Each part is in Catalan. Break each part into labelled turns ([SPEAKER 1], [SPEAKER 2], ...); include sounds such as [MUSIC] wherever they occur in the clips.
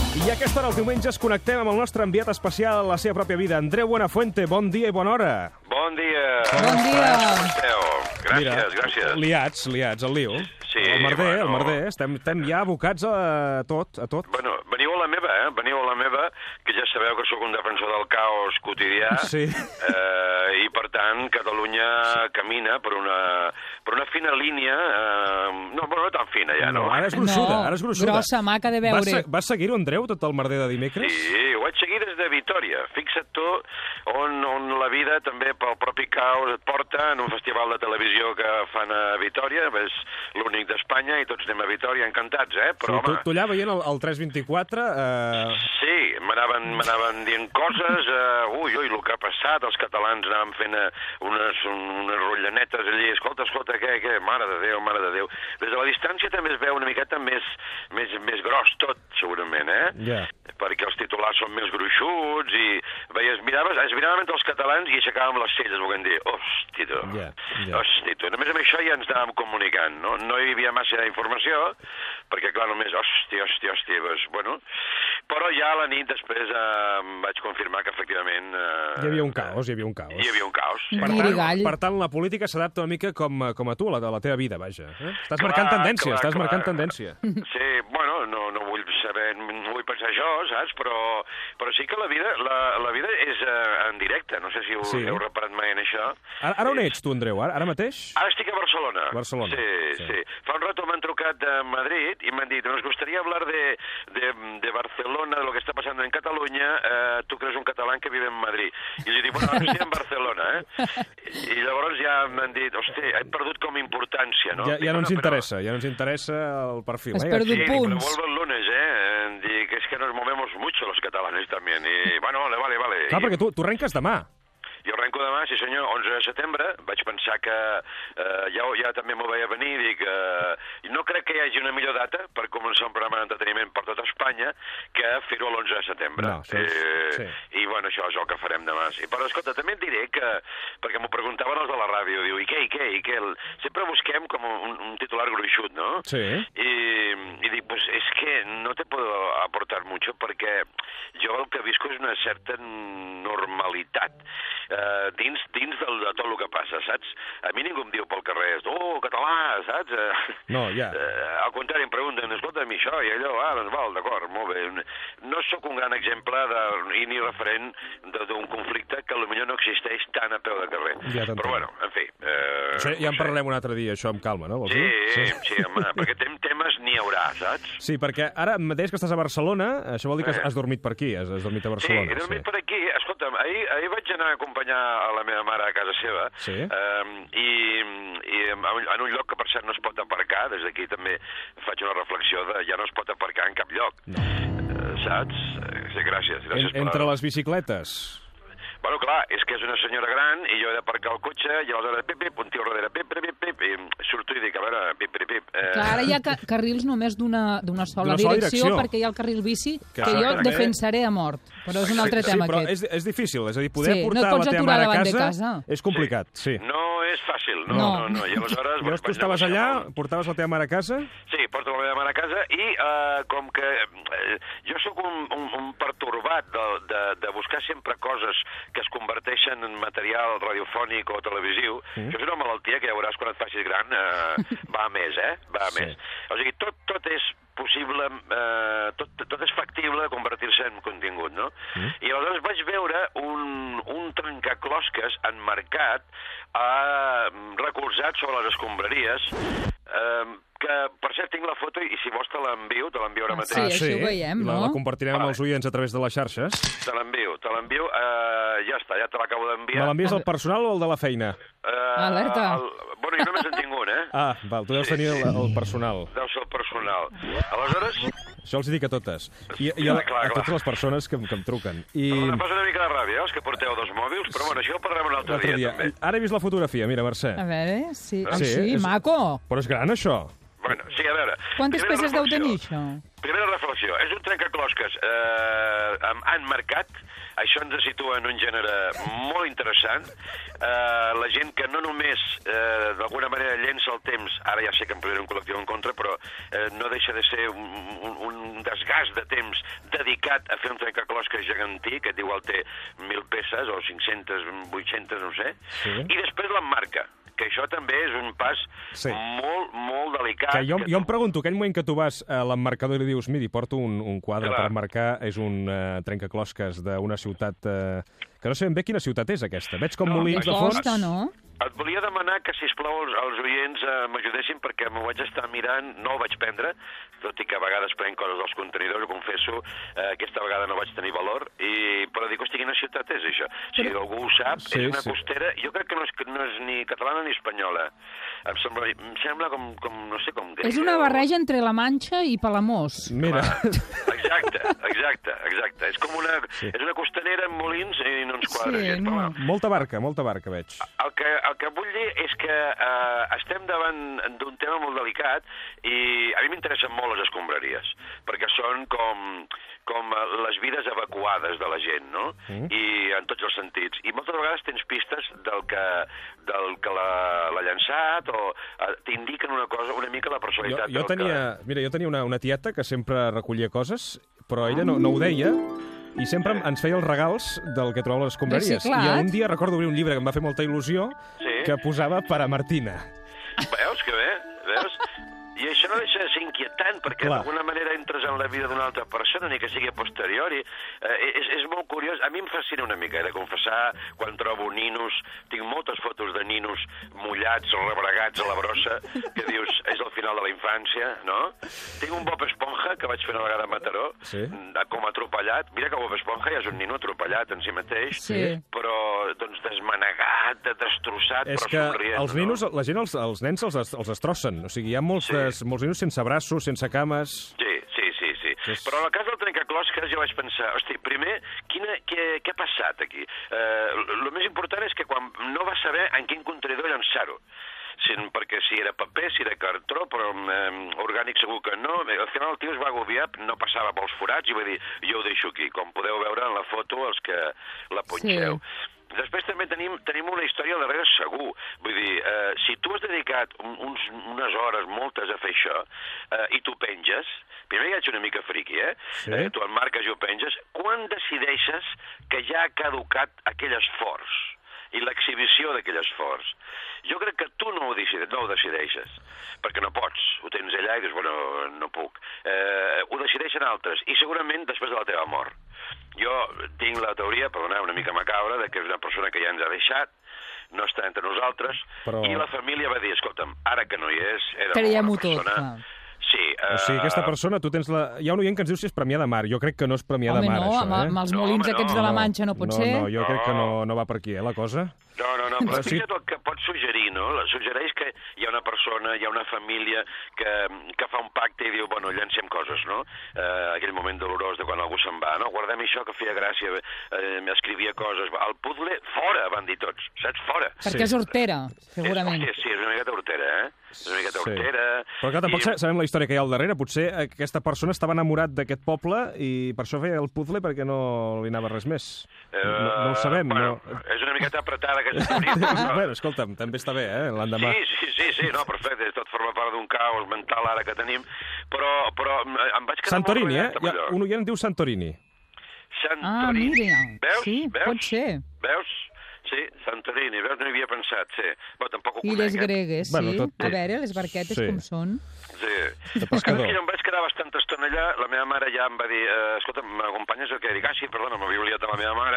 [SPEAKER 1] hora, els diumenges, connectem amb el nostre enviat especial a la seva pròpia vida, Andreu Buenafuente. Bon dia i bona hora.
[SPEAKER 2] Bon dia.
[SPEAKER 3] Bon dia.
[SPEAKER 2] Esteu. Gràcies,
[SPEAKER 1] Mira,
[SPEAKER 2] gràcies.
[SPEAKER 1] Liats, liats, el lío.
[SPEAKER 2] Sí,
[SPEAKER 1] el merder, el
[SPEAKER 2] bueno.
[SPEAKER 1] merder. Estem, estem ja abocats a tot, a tot.
[SPEAKER 2] Bueno, veniu a la meva, eh? Veniu a la meva, que ja sabeu que sóc un defensor del caos quotidià.
[SPEAKER 1] Sí.
[SPEAKER 2] Eh, I, per tant, Catalunya camina per una, per una fina línia... Eh, no, bueno, eh, no tan fina ja, no?
[SPEAKER 1] ara és gruixuda,
[SPEAKER 3] No,
[SPEAKER 1] ara és gruixuda.
[SPEAKER 3] grossa, maca de
[SPEAKER 1] Vas,
[SPEAKER 3] veure.
[SPEAKER 1] se- vas seguir-ho, Andreu, tot el merder de dimecres?
[SPEAKER 2] Sí, ho vaig seguir des de Vitoria. Fixa't tu on, on la vida també pel propi caos et porta en un festival de televisió que fan a Vitoria, és l'únic d'Espanya i tots anem a Vitoria encantats, eh? Però,
[SPEAKER 1] tu,
[SPEAKER 2] home...
[SPEAKER 1] tu allà veient el, el 324... Eh...
[SPEAKER 2] Sí, m'anaven m'anaven dient coses, uh, ui, ui, el que ha passat, els catalans anaven fent eh, unes, un, unes rotllanetes allí, escolta, escolta, què, què, mare de Déu, mare de Déu. Des de la distància també es veu una miqueta més, més, més gros tot, segurament, eh?
[SPEAKER 1] Ja.
[SPEAKER 2] perquè els titulars són més gruixuts i veies, miraves, es miraven entre els catalans i aixecàvem les celles, volent dir, hosti, tu,
[SPEAKER 1] Ja, ja.
[SPEAKER 2] hosti, tu. Només amb això ja ens anàvem comunicant, no? No hi havia massa informació, perquè, clar, només, hosti, hosti, hosti, doncs, bueno... Però ja a la nit després eh, em vaig confirmar que, efectivament... Eh,
[SPEAKER 1] Hi havia un caos, hi havia un caos.
[SPEAKER 2] Hi havia un caos. sí.
[SPEAKER 1] Per
[SPEAKER 3] Miri,
[SPEAKER 1] tant,
[SPEAKER 3] gall.
[SPEAKER 1] per tant, la política s'adapta una mica com, com a tu, a la, a la teva vida, vaja. Eh? Estàs
[SPEAKER 2] Clar,
[SPEAKER 1] marcant tendència,
[SPEAKER 2] clar,
[SPEAKER 1] estàs
[SPEAKER 2] clar.
[SPEAKER 1] marcant tendència.
[SPEAKER 2] Sí, bueno, no, no vull saber, no vull pensar això, saps? Però, però sí que la vida, la, la vida és eh, en directe, no sé si ho
[SPEAKER 1] Sí. Ah,
[SPEAKER 2] sí. heu reparat mai en això.
[SPEAKER 1] Ara, ara on
[SPEAKER 2] És-
[SPEAKER 1] ets, tu, Andreu? Ara, ara mateix?
[SPEAKER 2] Ara estic a Barcelona.
[SPEAKER 1] Barcelona,
[SPEAKER 2] Sí,
[SPEAKER 1] sí.
[SPEAKER 2] sí. sí. Fa un rato m'han trucat de Madrid i m'han dit, nos gustaría hablar de, de, de Barcelona, de lo que está pasando en Cataluña, eh, tu que eres un catalán que vive en Madrid. I jo dic, bueno, ara estic en Barcelona, eh? I llavors ja m'han dit, hosti, he perdut com importància, no?
[SPEAKER 1] Ja,
[SPEAKER 2] Dic,
[SPEAKER 1] ja no ens
[SPEAKER 2] "Bueno, però-
[SPEAKER 1] interessa, ja no ens interessa el perfil.
[SPEAKER 3] Has
[SPEAKER 1] Eh?
[SPEAKER 3] perdut
[SPEAKER 2] Sí,
[SPEAKER 3] punts.
[SPEAKER 2] pero vuelvo el lunes, ¿eh? Dic, es que nos movemos mucho los catalanes también. Y, bueno, vale, vale, vale.
[SPEAKER 1] Clar,
[SPEAKER 2] I-
[SPEAKER 1] perquè tu, tu arrenques demà.
[SPEAKER 2] Jo arrenco demà, sí senyor, 11 de setembre. Vaig pensar que eh, ja, ho- ja també m'ho veia venir, dic... Eh, no crec que hi hagi una millor data per començar un programa d'entreteniment per tota Espanya que fer-ho l'11 de setembre. Eh,
[SPEAKER 1] No, això és- sí.
[SPEAKER 2] I bueno, això és el que farem demà. Sí. Però escolta, també et diré que... Perquè m'ho preguntaven els de la ràdio, diu, i què, i què, i què? El- Sempre busquem com un, un titular gruixut, no?
[SPEAKER 1] Sí.
[SPEAKER 2] Y, y di, pues es que no te puedo aportar mucho perquè jo el que visco és una certa normalitat eh, dins, dins del, de tot el que passa, saps? A mi ningú em diu pel carrer, oh, català, saps? Eh,
[SPEAKER 1] No, ja.
[SPEAKER 2] Eh, al contrari, em pregunten, escolta'm, i això i allò, ah, doncs val, d'acord, molt bé. No sóc un gran exemple de, i ni referent de- d'un conflicte que potser no existeix tant a peu de carrer.
[SPEAKER 1] Ja t'entenc.
[SPEAKER 2] Però bueno, en fi... Eh,
[SPEAKER 1] Això, ja en
[SPEAKER 2] no sé.
[SPEAKER 1] parlarem un altre dia, això amb calma, no? Vols
[SPEAKER 2] Sí, sí,
[SPEAKER 1] dir?
[SPEAKER 2] sí, home, perquè tem temes n'hi haurà, saps?
[SPEAKER 1] Sí, perquè ara em deies que estàs a Barcelona, això vol dir que has, has dormit per aquí, has, has dormit a
[SPEAKER 2] Eh. Sí,
[SPEAKER 1] Barcelona.
[SPEAKER 2] he dormit per aquí. Escolta'm, ahir, ahir vaig anar a acompanyar a la meva mare a casa seva
[SPEAKER 1] Sí.
[SPEAKER 2] um, i, i en un- en un lloc que per cert no es pot aparcar, des d'aquí també faig una reflexió de ja no es pot aparcar en cap lloc, no. saps? Eh, Sí, gràcies. gràcies
[SPEAKER 1] En, entre les bicicletes.
[SPEAKER 2] Bueno, clar, és que és una senyora gran i jo he d'aparcar el cotxe i aleshores pip, pip, un tio al darrere, pip, pip, pip, pip, i surto i dic, a veure, pip, pip, pip. Eh,
[SPEAKER 3] Clar, ara hi ha ca- carrils només d'una d'una sola,
[SPEAKER 1] D'una sola
[SPEAKER 3] direcció,
[SPEAKER 1] direcció.
[SPEAKER 3] perquè hi ha el carril bici, que,
[SPEAKER 1] això
[SPEAKER 3] jo
[SPEAKER 1] també-
[SPEAKER 3] defensaré a mort. Però és un altre
[SPEAKER 1] sí,
[SPEAKER 3] tema,
[SPEAKER 1] però
[SPEAKER 3] aquest.
[SPEAKER 1] és, és difícil, és a dir, poder
[SPEAKER 3] Sí, no et
[SPEAKER 1] portar
[SPEAKER 3] pots
[SPEAKER 1] la teva
[SPEAKER 3] aturar
[SPEAKER 1] mare a
[SPEAKER 3] davant de
[SPEAKER 1] casa,
[SPEAKER 3] casa.
[SPEAKER 1] és complicat, sí.
[SPEAKER 2] No és fàcil, no, no,
[SPEAKER 3] No.
[SPEAKER 2] no. no. I aleshores...
[SPEAKER 1] Llavors tu
[SPEAKER 2] vaig
[SPEAKER 1] estaves
[SPEAKER 2] negociar
[SPEAKER 1] allà,
[SPEAKER 2] molt.
[SPEAKER 1] portaves la teva mare a casa...
[SPEAKER 2] Sí, porto la meva mare a casa i eh, com que eh, jo sóc un, un, un pertorbat de, de, de buscar sempre coses que es converteixen en material radiofònic o televisiu, mm. això és una malaltia que ja veuràs quan et facis gran,
[SPEAKER 1] [LAUGHS]
[SPEAKER 2] eh, va a més, eh? Va a
[SPEAKER 1] Sí.
[SPEAKER 2] sí. més. O sigui, tot, tot és possible, eh, tot, tot és factible convertir-se en contingut, no? Mm. I aleshores vaig veure un, un trencaclosques enmarcat, eh, recolzat sobre les escombraries, eh, que, per cert, tinc la foto i si vols te l'envio, te l'envio ara
[SPEAKER 3] Ah,
[SPEAKER 2] mateix.
[SPEAKER 3] Sí, així ho veiem,
[SPEAKER 1] I la,
[SPEAKER 3] no?
[SPEAKER 1] La compartirem amb els oients a través de les xarxes.
[SPEAKER 2] Te l'envio, te l'envio, eh, ja està, ja te l'acabo
[SPEAKER 1] Me
[SPEAKER 2] d'enviar.
[SPEAKER 1] l'envies al personal o al de la feina?
[SPEAKER 2] Eh,
[SPEAKER 3] Alerta.
[SPEAKER 2] El, bueno, jo només en tinc un, eh?
[SPEAKER 1] Ah, val, tu deus tenir el, el personal.
[SPEAKER 2] Deu ser el personal. Aleshores,
[SPEAKER 1] Això els hi dic a totes. I, i a,
[SPEAKER 2] Clar, clar,
[SPEAKER 1] a totes
[SPEAKER 2] clar.
[SPEAKER 1] les persones que, em- que em truquen. I
[SPEAKER 2] em passa una mica de ràbia, eh, els que porteu dos mòbils, però bueno, això ho parlarem un altre,
[SPEAKER 1] l'altre dia...
[SPEAKER 2] també.
[SPEAKER 1] Ara he vist la fotografia, mira, Mercè.
[SPEAKER 3] A veure, sí, ah,
[SPEAKER 1] Sí,
[SPEAKER 3] sí,
[SPEAKER 1] és-
[SPEAKER 3] maco.
[SPEAKER 1] Però és gran, això.
[SPEAKER 2] Bueno, sí, a veure...
[SPEAKER 3] Quantes
[SPEAKER 2] primera
[SPEAKER 3] peces deu
[SPEAKER 2] reflexió.
[SPEAKER 3] tenir, això?
[SPEAKER 2] Primera reflexió. És un trencaclosques eh, amb han marcat Això ens situa en un gènere molt interessant. Eh, la gent que no només, eh, d'alguna manera, llença el temps, ara ja sé que em posaré un col·lectiu en contra, però eh, no deixa de ser un, un, un desgast de temps dedicat a fer un trencaclosques gegantí, que igual té mil peces, o 500, 800, no sé,
[SPEAKER 1] Sí.
[SPEAKER 2] i després l'emmarca que això també és un pas
[SPEAKER 1] Sí.
[SPEAKER 2] sí. molt, molt delicat.
[SPEAKER 1] Que jo,
[SPEAKER 2] Ah, que
[SPEAKER 1] jo em pregunto, aquell moment que tu vas a l'emmarcador i li dius, miri, porto un, un quadre
[SPEAKER 2] Clar.
[SPEAKER 1] per marcar, és un uh, trencaclosques d'una ciutat... Uh, que no sé ben bé quina ciutat és aquesta. Veig com
[SPEAKER 2] No,
[SPEAKER 1] molins
[SPEAKER 2] Molins
[SPEAKER 1] de
[SPEAKER 2] no.
[SPEAKER 1] fons.
[SPEAKER 3] costa, no?
[SPEAKER 2] Et volia demanar que, si plau els, els oients eh, m'ajudessin perquè m'ho vaig estar mirant, no ho vaig prendre, tot i que a vegades prenc coses dels contenidors, ho confesso, eh, aquesta vegada no vaig tenir valor, i, però dic, hosti, quina ciutat és això? Si
[SPEAKER 3] Però-
[SPEAKER 2] algú ho sap,
[SPEAKER 1] Sí,
[SPEAKER 2] és una
[SPEAKER 1] sí.
[SPEAKER 2] costera, jo crec que no és, no és ni catalana ni espanyola. Em sembla, em sembla com, com, no sé, com...
[SPEAKER 3] És
[SPEAKER 2] grega
[SPEAKER 3] una
[SPEAKER 2] o-
[SPEAKER 3] barreja entre la Manxa i Palamós.
[SPEAKER 1] Mira,
[SPEAKER 2] [LAUGHS]
[SPEAKER 1] [LAUGHS]
[SPEAKER 2] Exacte, exacte, exacte. És com una, sí. és una costanera amb molins i no ens quadra.
[SPEAKER 3] Sí,
[SPEAKER 2] gens,
[SPEAKER 3] no.
[SPEAKER 2] però bueno.
[SPEAKER 1] molta barca, molta barca, veig.
[SPEAKER 2] El que, el que vull dir és que eh, estem davant d'un tema molt delicat i a mi m'interessen molt les escombraries, perquè són com, com eh, les vides evacuades de la gent, no? Mm. I en tots els sentits. I moltes vegades tens pistes del que, del que la- l'ha llançat o eh, t'indiquen una cosa, una mica la
[SPEAKER 1] Jo,
[SPEAKER 2] personalitat.
[SPEAKER 1] jo
[SPEAKER 2] del
[SPEAKER 1] tenia, mira, jo tenia una, una tieta que sempre recollia coses, però ella no, no
[SPEAKER 3] Ah.
[SPEAKER 1] ho deia, i sempre em- ens feia els regals del que trobava a les escombraries.
[SPEAKER 3] Reciclat.
[SPEAKER 1] I un dia recordo obrir un llibre que em va fer molta il·lusió,
[SPEAKER 2] Sí.
[SPEAKER 1] que posava per a Martina.
[SPEAKER 2] Que... Veus que bé? Veus? I això no deixa de ser inquietant, perquè
[SPEAKER 1] Clar.
[SPEAKER 2] d'alguna manera entres en la vida d'una altra persona, ni que sigui a posteriori. Eh, és, és molt curiós. A mi em fascina una mica, he de confessar, quan trobo ninos, tinc moltes fotos de ninos mullats, rebregats a la brossa, que dius, és el final de la infància, no? Tinc un Bob Esponja, que vaig fer una vegada a Mataró,
[SPEAKER 1] Sí.
[SPEAKER 2] de- com atropellat. Mira que Bob Esponja ja és un nino atropellat en si mateix,
[SPEAKER 3] Sí.
[SPEAKER 2] però doncs, desmanegat, destrossat,
[SPEAKER 1] És
[SPEAKER 2] però
[SPEAKER 1] que
[SPEAKER 2] somrient.
[SPEAKER 1] els
[SPEAKER 2] no?
[SPEAKER 1] ninos, la gent, els, els nens els, es- els destrossen. O sigui, hi ha molts,
[SPEAKER 2] Sí.
[SPEAKER 1] des, molts ninos sense braços, sense cames...
[SPEAKER 2] Sí, sí, sí, sí.
[SPEAKER 1] És-
[SPEAKER 2] Però en el cas del trencaclosques jo vaig pensar, hosti, primer, quina, què, què ha passat aquí? El més important és que quan no va saber en quin contenidor llançar-ho. Si, perquè si era paper, si era cartró, però eh, orgànic segur que no. Bé, Al final el tio es va agobiar, no passava pels forats i va dir, jo ho deixo aquí, com podeu veure en la foto els que la punxeu. Després també tenim, tenim una història al darrere segur. Vull dir, eh, si tu has dedicat un, uns, unes hores, moltes, a fer això, eh, i tu penges, primer ja ets una mica friqui, eh?
[SPEAKER 1] Sí.
[SPEAKER 2] eh tu en marques i ho penges, quan decideixes que ja ha caducat aquell esforç i l'exhibició d'aquell esforç? Jo crec que tu no ho, decideixes, no ho decideixes, perquè no pots. Ho tens allà i dius, bueno, no puc. Eh, ho decideixen altres, i segurament després de la teva mort. Jo tinc la teoria, perdoneu, una mica macabra, de que és una persona que ja ens ha deixat, no està entre nosaltres,
[SPEAKER 1] Però-
[SPEAKER 2] Però... i la família va dir, escolta'm, ara que no hi és, era una
[SPEAKER 3] Creiem-ho
[SPEAKER 2] bona
[SPEAKER 3] tot,
[SPEAKER 2] persona.
[SPEAKER 3] clar.
[SPEAKER 2] Sí, eh,
[SPEAKER 1] O sigui, aquesta persona, tu tens la... Hi ha un oient que ens diu si és Premià de Mar. Jo crec que no és Premià
[SPEAKER 3] Home,
[SPEAKER 1] de Mar,
[SPEAKER 3] no,
[SPEAKER 1] això,
[SPEAKER 3] amb,
[SPEAKER 1] eh?
[SPEAKER 3] amb els
[SPEAKER 2] No,
[SPEAKER 3] molins
[SPEAKER 2] home,
[SPEAKER 3] aquests
[SPEAKER 2] no.
[SPEAKER 3] de la Manxa no pot
[SPEAKER 1] no,
[SPEAKER 3] ser.
[SPEAKER 1] No, jo crec que no, no va per aquí, eh, la cosa.
[SPEAKER 2] No, no, no,
[SPEAKER 1] Però
[SPEAKER 2] però
[SPEAKER 1] Ah, sí.
[SPEAKER 2] fixa't el que pot suggerir, no? La- Suggereix que hi ha una persona, hi ha una família que, que fa un pacte i diu, bueno, llancem coses, no? Eh, aquell moment dolorós de quan algú se'n va, no? Guardem això que feia gràcia, eh, m'escrivia coses. El puzzle, fora, van dir tots, saps? Fora.
[SPEAKER 1] Sí.
[SPEAKER 3] Perquè és hortera, segurament.
[SPEAKER 2] És, hòstia, sí, és una miqueta hortera, eh? És una miqueta hortera.
[SPEAKER 1] Sí. Però clar, tampoc
[SPEAKER 2] I-
[SPEAKER 1] I... sabem la història que hi ha al darrere. Potser aquesta persona estava enamorat d'aquest poble i per això feia el puzzle perquè no li anava res més.
[SPEAKER 2] eh,
[SPEAKER 1] no, no ho sabem,
[SPEAKER 2] bueno,
[SPEAKER 1] no...
[SPEAKER 2] És una miqueta apretada, aquesta
[SPEAKER 1] [LAUGHS]
[SPEAKER 2] teoria. però-
[SPEAKER 1] bueno, escolta'm, també està bé, eh, l'endemà.
[SPEAKER 2] Sí, sí, sí, sí, no, perfecte, tot forma part d'un caos mental ara que tenim, però, però eh, em vaig quedar
[SPEAKER 1] Santorini, eh?
[SPEAKER 2] molt
[SPEAKER 1] Hi ha, un oient diu Santorini.
[SPEAKER 3] Ah,
[SPEAKER 2] Santorini.
[SPEAKER 3] mira.
[SPEAKER 2] Veus?
[SPEAKER 3] Sí,
[SPEAKER 2] Veus?
[SPEAKER 3] pot ser.
[SPEAKER 2] Veus? Sí, Santorini, veus? No hi havia pensat, sí. Però tampoc ho
[SPEAKER 3] I
[SPEAKER 2] conec,
[SPEAKER 3] les
[SPEAKER 2] eh?
[SPEAKER 3] gregues,
[SPEAKER 1] Bueno,
[SPEAKER 3] sí.
[SPEAKER 1] tot té-
[SPEAKER 3] A veure, les barquetes
[SPEAKER 1] Sí.
[SPEAKER 3] com són.
[SPEAKER 2] Sí.
[SPEAKER 1] De pescador.
[SPEAKER 2] És que Jo em vaig quedar bastanta estona allà, la meva mare ja em va dir, eh, escolta, m'acompanyes o què? Dic, ah, sí, perdona, m'havia oblidat a la meva mare,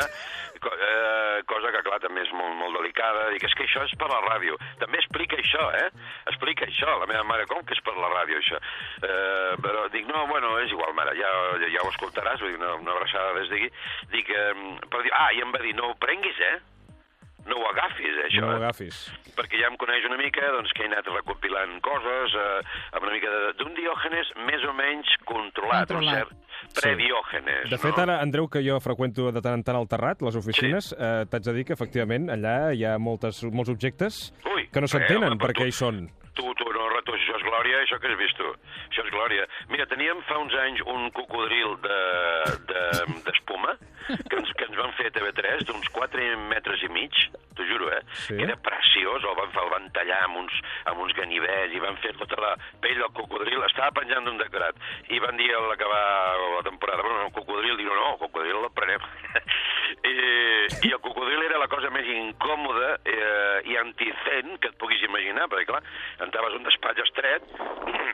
[SPEAKER 2] Co eh, cosa que, clar, també és molt, molt delicada. Dic, és que això és per la ràdio. També explica això, eh? Explica això, la meva mare, com que és per la ràdio, això? Eh, però dic, no, bueno, és igual, mare, ja, ja, ja ho escoltaràs, vull dir, una, una abraçada des d'aquí. Dic, eh, però dic, ah, i em va dir, no ho prenguis, eh? No ho agafis, eh, això.
[SPEAKER 1] No ho
[SPEAKER 2] eh?"
[SPEAKER 1] agafis.
[SPEAKER 2] perquè ja em coneix una mica, doncs que he anat recopilant coses, eh, amb una mica de- d'un diògenes més o menys controlat,
[SPEAKER 3] Controlat.
[SPEAKER 2] un cert prediògenes.
[SPEAKER 1] De fet,
[SPEAKER 2] no?
[SPEAKER 1] ara, Andreu, que jo freqüento de tant en tant al Terrat, les oficines, sí. eh, t'haig de dir que, efectivament, allà hi ha moltes, molts objectes
[SPEAKER 2] Ui,
[SPEAKER 1] que no
[SPEAKER 2] eh, home,
[SPEAKER 1] s'entenen
[SPEAKER 2] però
[SPEAKER 1] perquè
[SPEAKER 2] tu-
[SPEAKER 1] hi són.
[SPEAKER 2] Tu, tu, no, rato, això és glòria, això que has vist tu. Això és glòria. Mira, teníem fa uns anys un cocodril d'espuma, de, d'espuma, que ens, que ens van fer a TV3 d'uns 4 metres i mig, t'ho juro, eh?
[SPEAKER 1] Sí.
[SPEAKER 2] Que era preciós, el van, fer, el van tallar amb uns, amb uns ganivets i van fer tota la pell del cocodril, estava penjant d'un decorat, i van dir a l'acabar la temporada, bueno, el cocodril, diu, no, el cocodril el prenem. [LAUGHS] I, I el cocodril era la cosa més incòmoda eh, i anticent que et puguis imaginar, perquè, clar, entraves a un despatx estret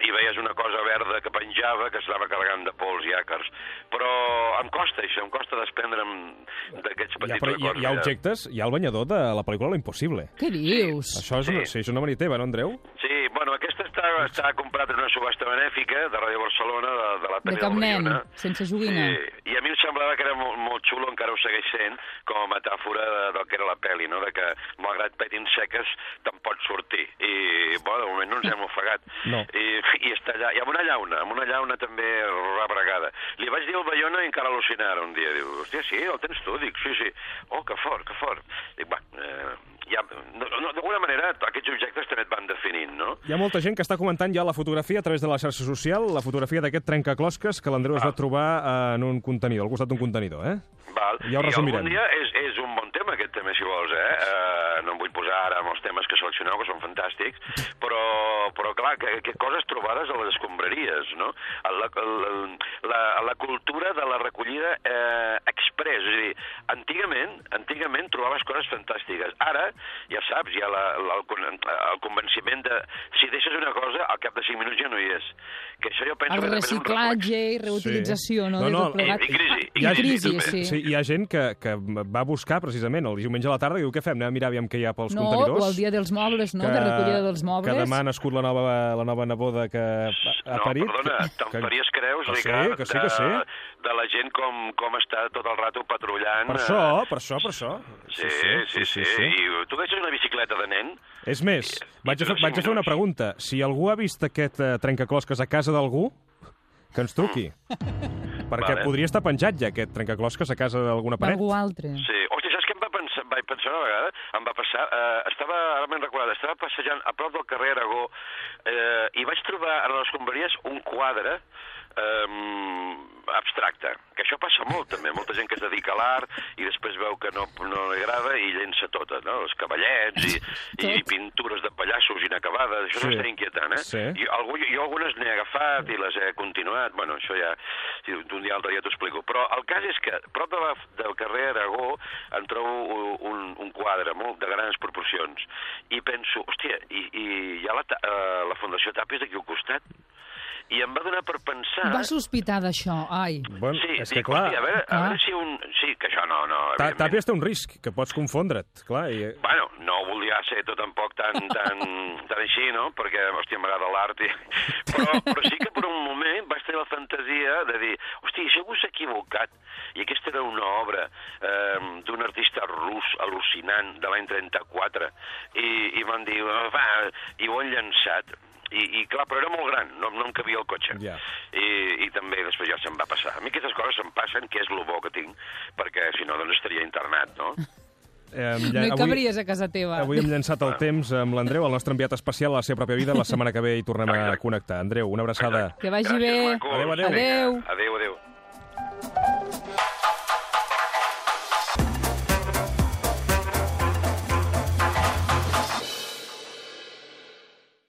[SPEAKER 2] i veies una cosa verda que penjava, que estava carregant de pols i àcars. Però em costa això, em costa desprendre'm d'aquests
[SPEAKER 1] Hi ha,
[SPEAKER 2] petits
[SPEAKER 1] però hi, ha,
[SPEAKER 2] records.
[SPEAKER 1] hi ha
[SPEAKER 2] ja.
[SPEAKER 1] objectes, hi ha el banyador de la pel·lícula Lo Impossible.
[SPEAKER 3] Què dius?
[SPEAKER 1] Això és, una, sí, és una mania teva, no, Andreu?
[SPEAKER 2] Sí, bueno, aquesta està, està comprat en una subhasta benèfica de Ràdio Barcelona, de, de la
[SPEAKER 3] De
[SPEAKER 2] Tele
[SPEAKER 3] cap nen,
[SPEAKER 2] Oriona.
[SPEAKER 3] sense joguina.
[SPEAKER 2] Sí, i a mi em semblava que era molt, molt xulo, encara ho segueix sent, com a metàfora de, del que era la pel·li, no? de que malgrat petin seques te'n pots sortir. I, bueno, de moment no ens hem ofegat.
[SPEAKER 1] No.
[SPEAKER 2] I, I està allà, i amb una llauna, amb una llauna també rebregada. Li vaig dir al Bayona i encara al·lucinara un dia. Diu, hòstia, sí, el tens tu? Dic, sí, sí. Oh, que fort, que fort. Dic, va, eh, ja, no, no, d'alguna manera aquests objectes també et van definint, no?
[SPEAKER 1] Hi ha molta gent que està comentant ja la fotografia a través de la xarxa social, la fotografia d'aquest trencaclosques que l'Andreu es
[SPEAKER 3] Ah.
[SPEAKER 1] va trobar eh, en un contenidor, al costat d'un contenidor, eh?
[SPEAKER 2] Val.
[SPEAKER 1] Ja ho resumirem.
[SPEAKER 2] I algun dia és, és un bon tema, aquest també, si vols, eh? eh no em vull posar ara amb els temes que seleccioneu, que són fantàstics,
[SPEAKER 1] [LAUGHS]
[SPEAKER 2] però, però clar, que, que coses trobades a les escombraries, no? La, la, la, la cultura de la recollida eh, express, és a dir, antigament, antigament trobaves coses fantàstiques. Ara, ja saps, hi ha la, la, el, con- el convenciment de si deixes una cosa, al cap de 5 minuts ja no hi és. Que això jo penso
[SPEAKER 3] El
[SPEAKER 2] que també és un reflex.
[SPEAKER 3] reciclatge i reutilització,
[SPEAKER 1] Sí.
[SPEAKER 3] no?
[SPEAKER 1] No,
[SPEAKER 3] de
[SPEAKER 1] no,
[SPEAKER 3] tot
[SPEAKER 2] i-
[SPEAKER 3] plegat.
[SPEAKER 2] i crisi, i
[SPEAKER 3] Ah,
[SPEAKER 2] crisi, també.
[SPEAKER 3] sí.
[SPEAKER 1] sí. Hi ha gent que, que va buscar precisament el diumenge a la tarda i diu, què fem, anem a mirar aviam què hi ha pels
[SPEAKER 3] No,
[SPEAKER 1] contenidors?
[SPEAKER 3] o el dia dels mobles, no? De recollida dels mobles.
[SPEAKER 1] Que demà ha nascut la nova, la nova neboda que ha, ha
[SPEAKER 2] no,
[SPEAKER 1] parit.
[SPEAKER 2] perdona, te'n
[SPEAKER 1] que-
[SPEAKER 2] faries creus,
[SPEAKER 1] que sí,
[SPEAKER 2] Ricard,
[SPEAKER 1] que sí, que sí.
[SPEAKER 2] De, de la gent com, com està tot el rato patrullant.
[SPEAKER 1] Per
[SPEAKER 2] eh,
[SPEAKER 1] això, per això, per això.
[SPEAKER 2] Sí, sí, sí. sí, I tu deixes una bicicleta de nen?
[SPEAKER 1] És més, vaig a, fer,
[SPEAKER 2] Cinc
[SPEAKER 1] vaig a fer una
[SPEAKER 2] minuts.
[SPEAKER 1] pregunta. Si algú ha vist aquest eh, trencaclosques a casa d'algú, que ens truqui. Perquè
[SPEAKER 2] Mm. Vale.
[SPEAKER 1] podria estar penjat ja aquest trencaclosques a casa d'alguna paret.
[SPEAKER 3] D'algú altre.
[SPEAKER 2] Sí. Hòstia, saps què em va pensar, vaig pensar una vegada? Em va passar... Eh, estava, ara me'n recordat, estava passejant a prop del carrer Aragó eh, i vaig trobar a les escombraries un quadre eh, abstracte, que això passa molt també, molta gent que es dedica a l'art i després veu que no, no li agrada i llença tota, no? els cavallets [LAUGHS] i, i
[SPEAKER 3] Tot.
[SPEAKER 2] pintures de pallassos inacabades, això
[SPEAKER 1] Sí.
[SPEAKER 2] sí. està inquietant, eh?
[SPEAKER 1] Sí.
[SPEAKER 2] I algú, jo algunes n'he agafat i les he continuat, bueno, això ja, si d'un dia a l'altre ja t'ho explico, però el cas és que prop de la, del carrer Aragó em trobo un, un quadre molt de grans proporcions i penso, hòstia, i, i hi ha la, Ta- eh, la Fundació Tàpies aquí al costat? I em va donar per pensar...
[SPEAKER 3] Va sospitar d'això, ai.
[SPEAKER 1] Bueno,
[SPEAKER 2] sí,
[SPEAKER 1] és que,
[SPEAKER 2] dic,
[SPEAKER 1] clar,
[SPEAKER 2] hòstia, a veure, a
[SPEAKER 3] clar.
[SPEAKER 2] veure si un... Sí, que això no, no...
[SPEAKER 1] Ta-
[SPEAKER 2] evidentment.
[SPEAKER 1] Tàpies té un risc, que pots confondre't, clar. I...
[SPEAKER 2] Bueno, no volia ser tot tampoc tan, tan, tan així, no? Perquè, hòstia, m'agrada l'art. I... Però, però sí que per un moment vaig tenir la fantasia de dir, hòstia, això s'ha equivocat. I aquesta era una obra eh, d'un artista rus al·lucinant de l'any 34. I, i van dir, "Ah, va, i ho han llançat. I, I clar, però era molt gran, no, no em cabia el cotxe.
[SPEAKER 1] Ja.
[SPEAKER 2] I, I també després ja se'm va passar. A mi aquestes coses se'm passen, que és lo bo que tinc, perquè si no, doncs estaria internat, no?
[SPEAKER 1] Eh,
[SPEAKER 3] No hi
[SPEAKER 1] avui,
[SPEAKER 3] cabries a casa teva.
[SPEAKER 1] avui hem llançat el temps amb l'Andreu, el nostre enviat especial a la seva pròpia vida. La setmana que ve hi tornem a
[SPEAKER 2] Exacte.
[SPEAKER 1] connectar. Andreu, una abraçada.
[SPEAKER 3] Que vagi
[SPEAKER 2] Gràcies,
[SPEAKER 3] bé.
[SPEAKER 2] macos.
[SPEAKER 1] Adéu, adéu.
[SPEAKER 2] Vinga,
[SPEAKER 3] Adéu.
[SPEAKER 2] Adéu, adéu.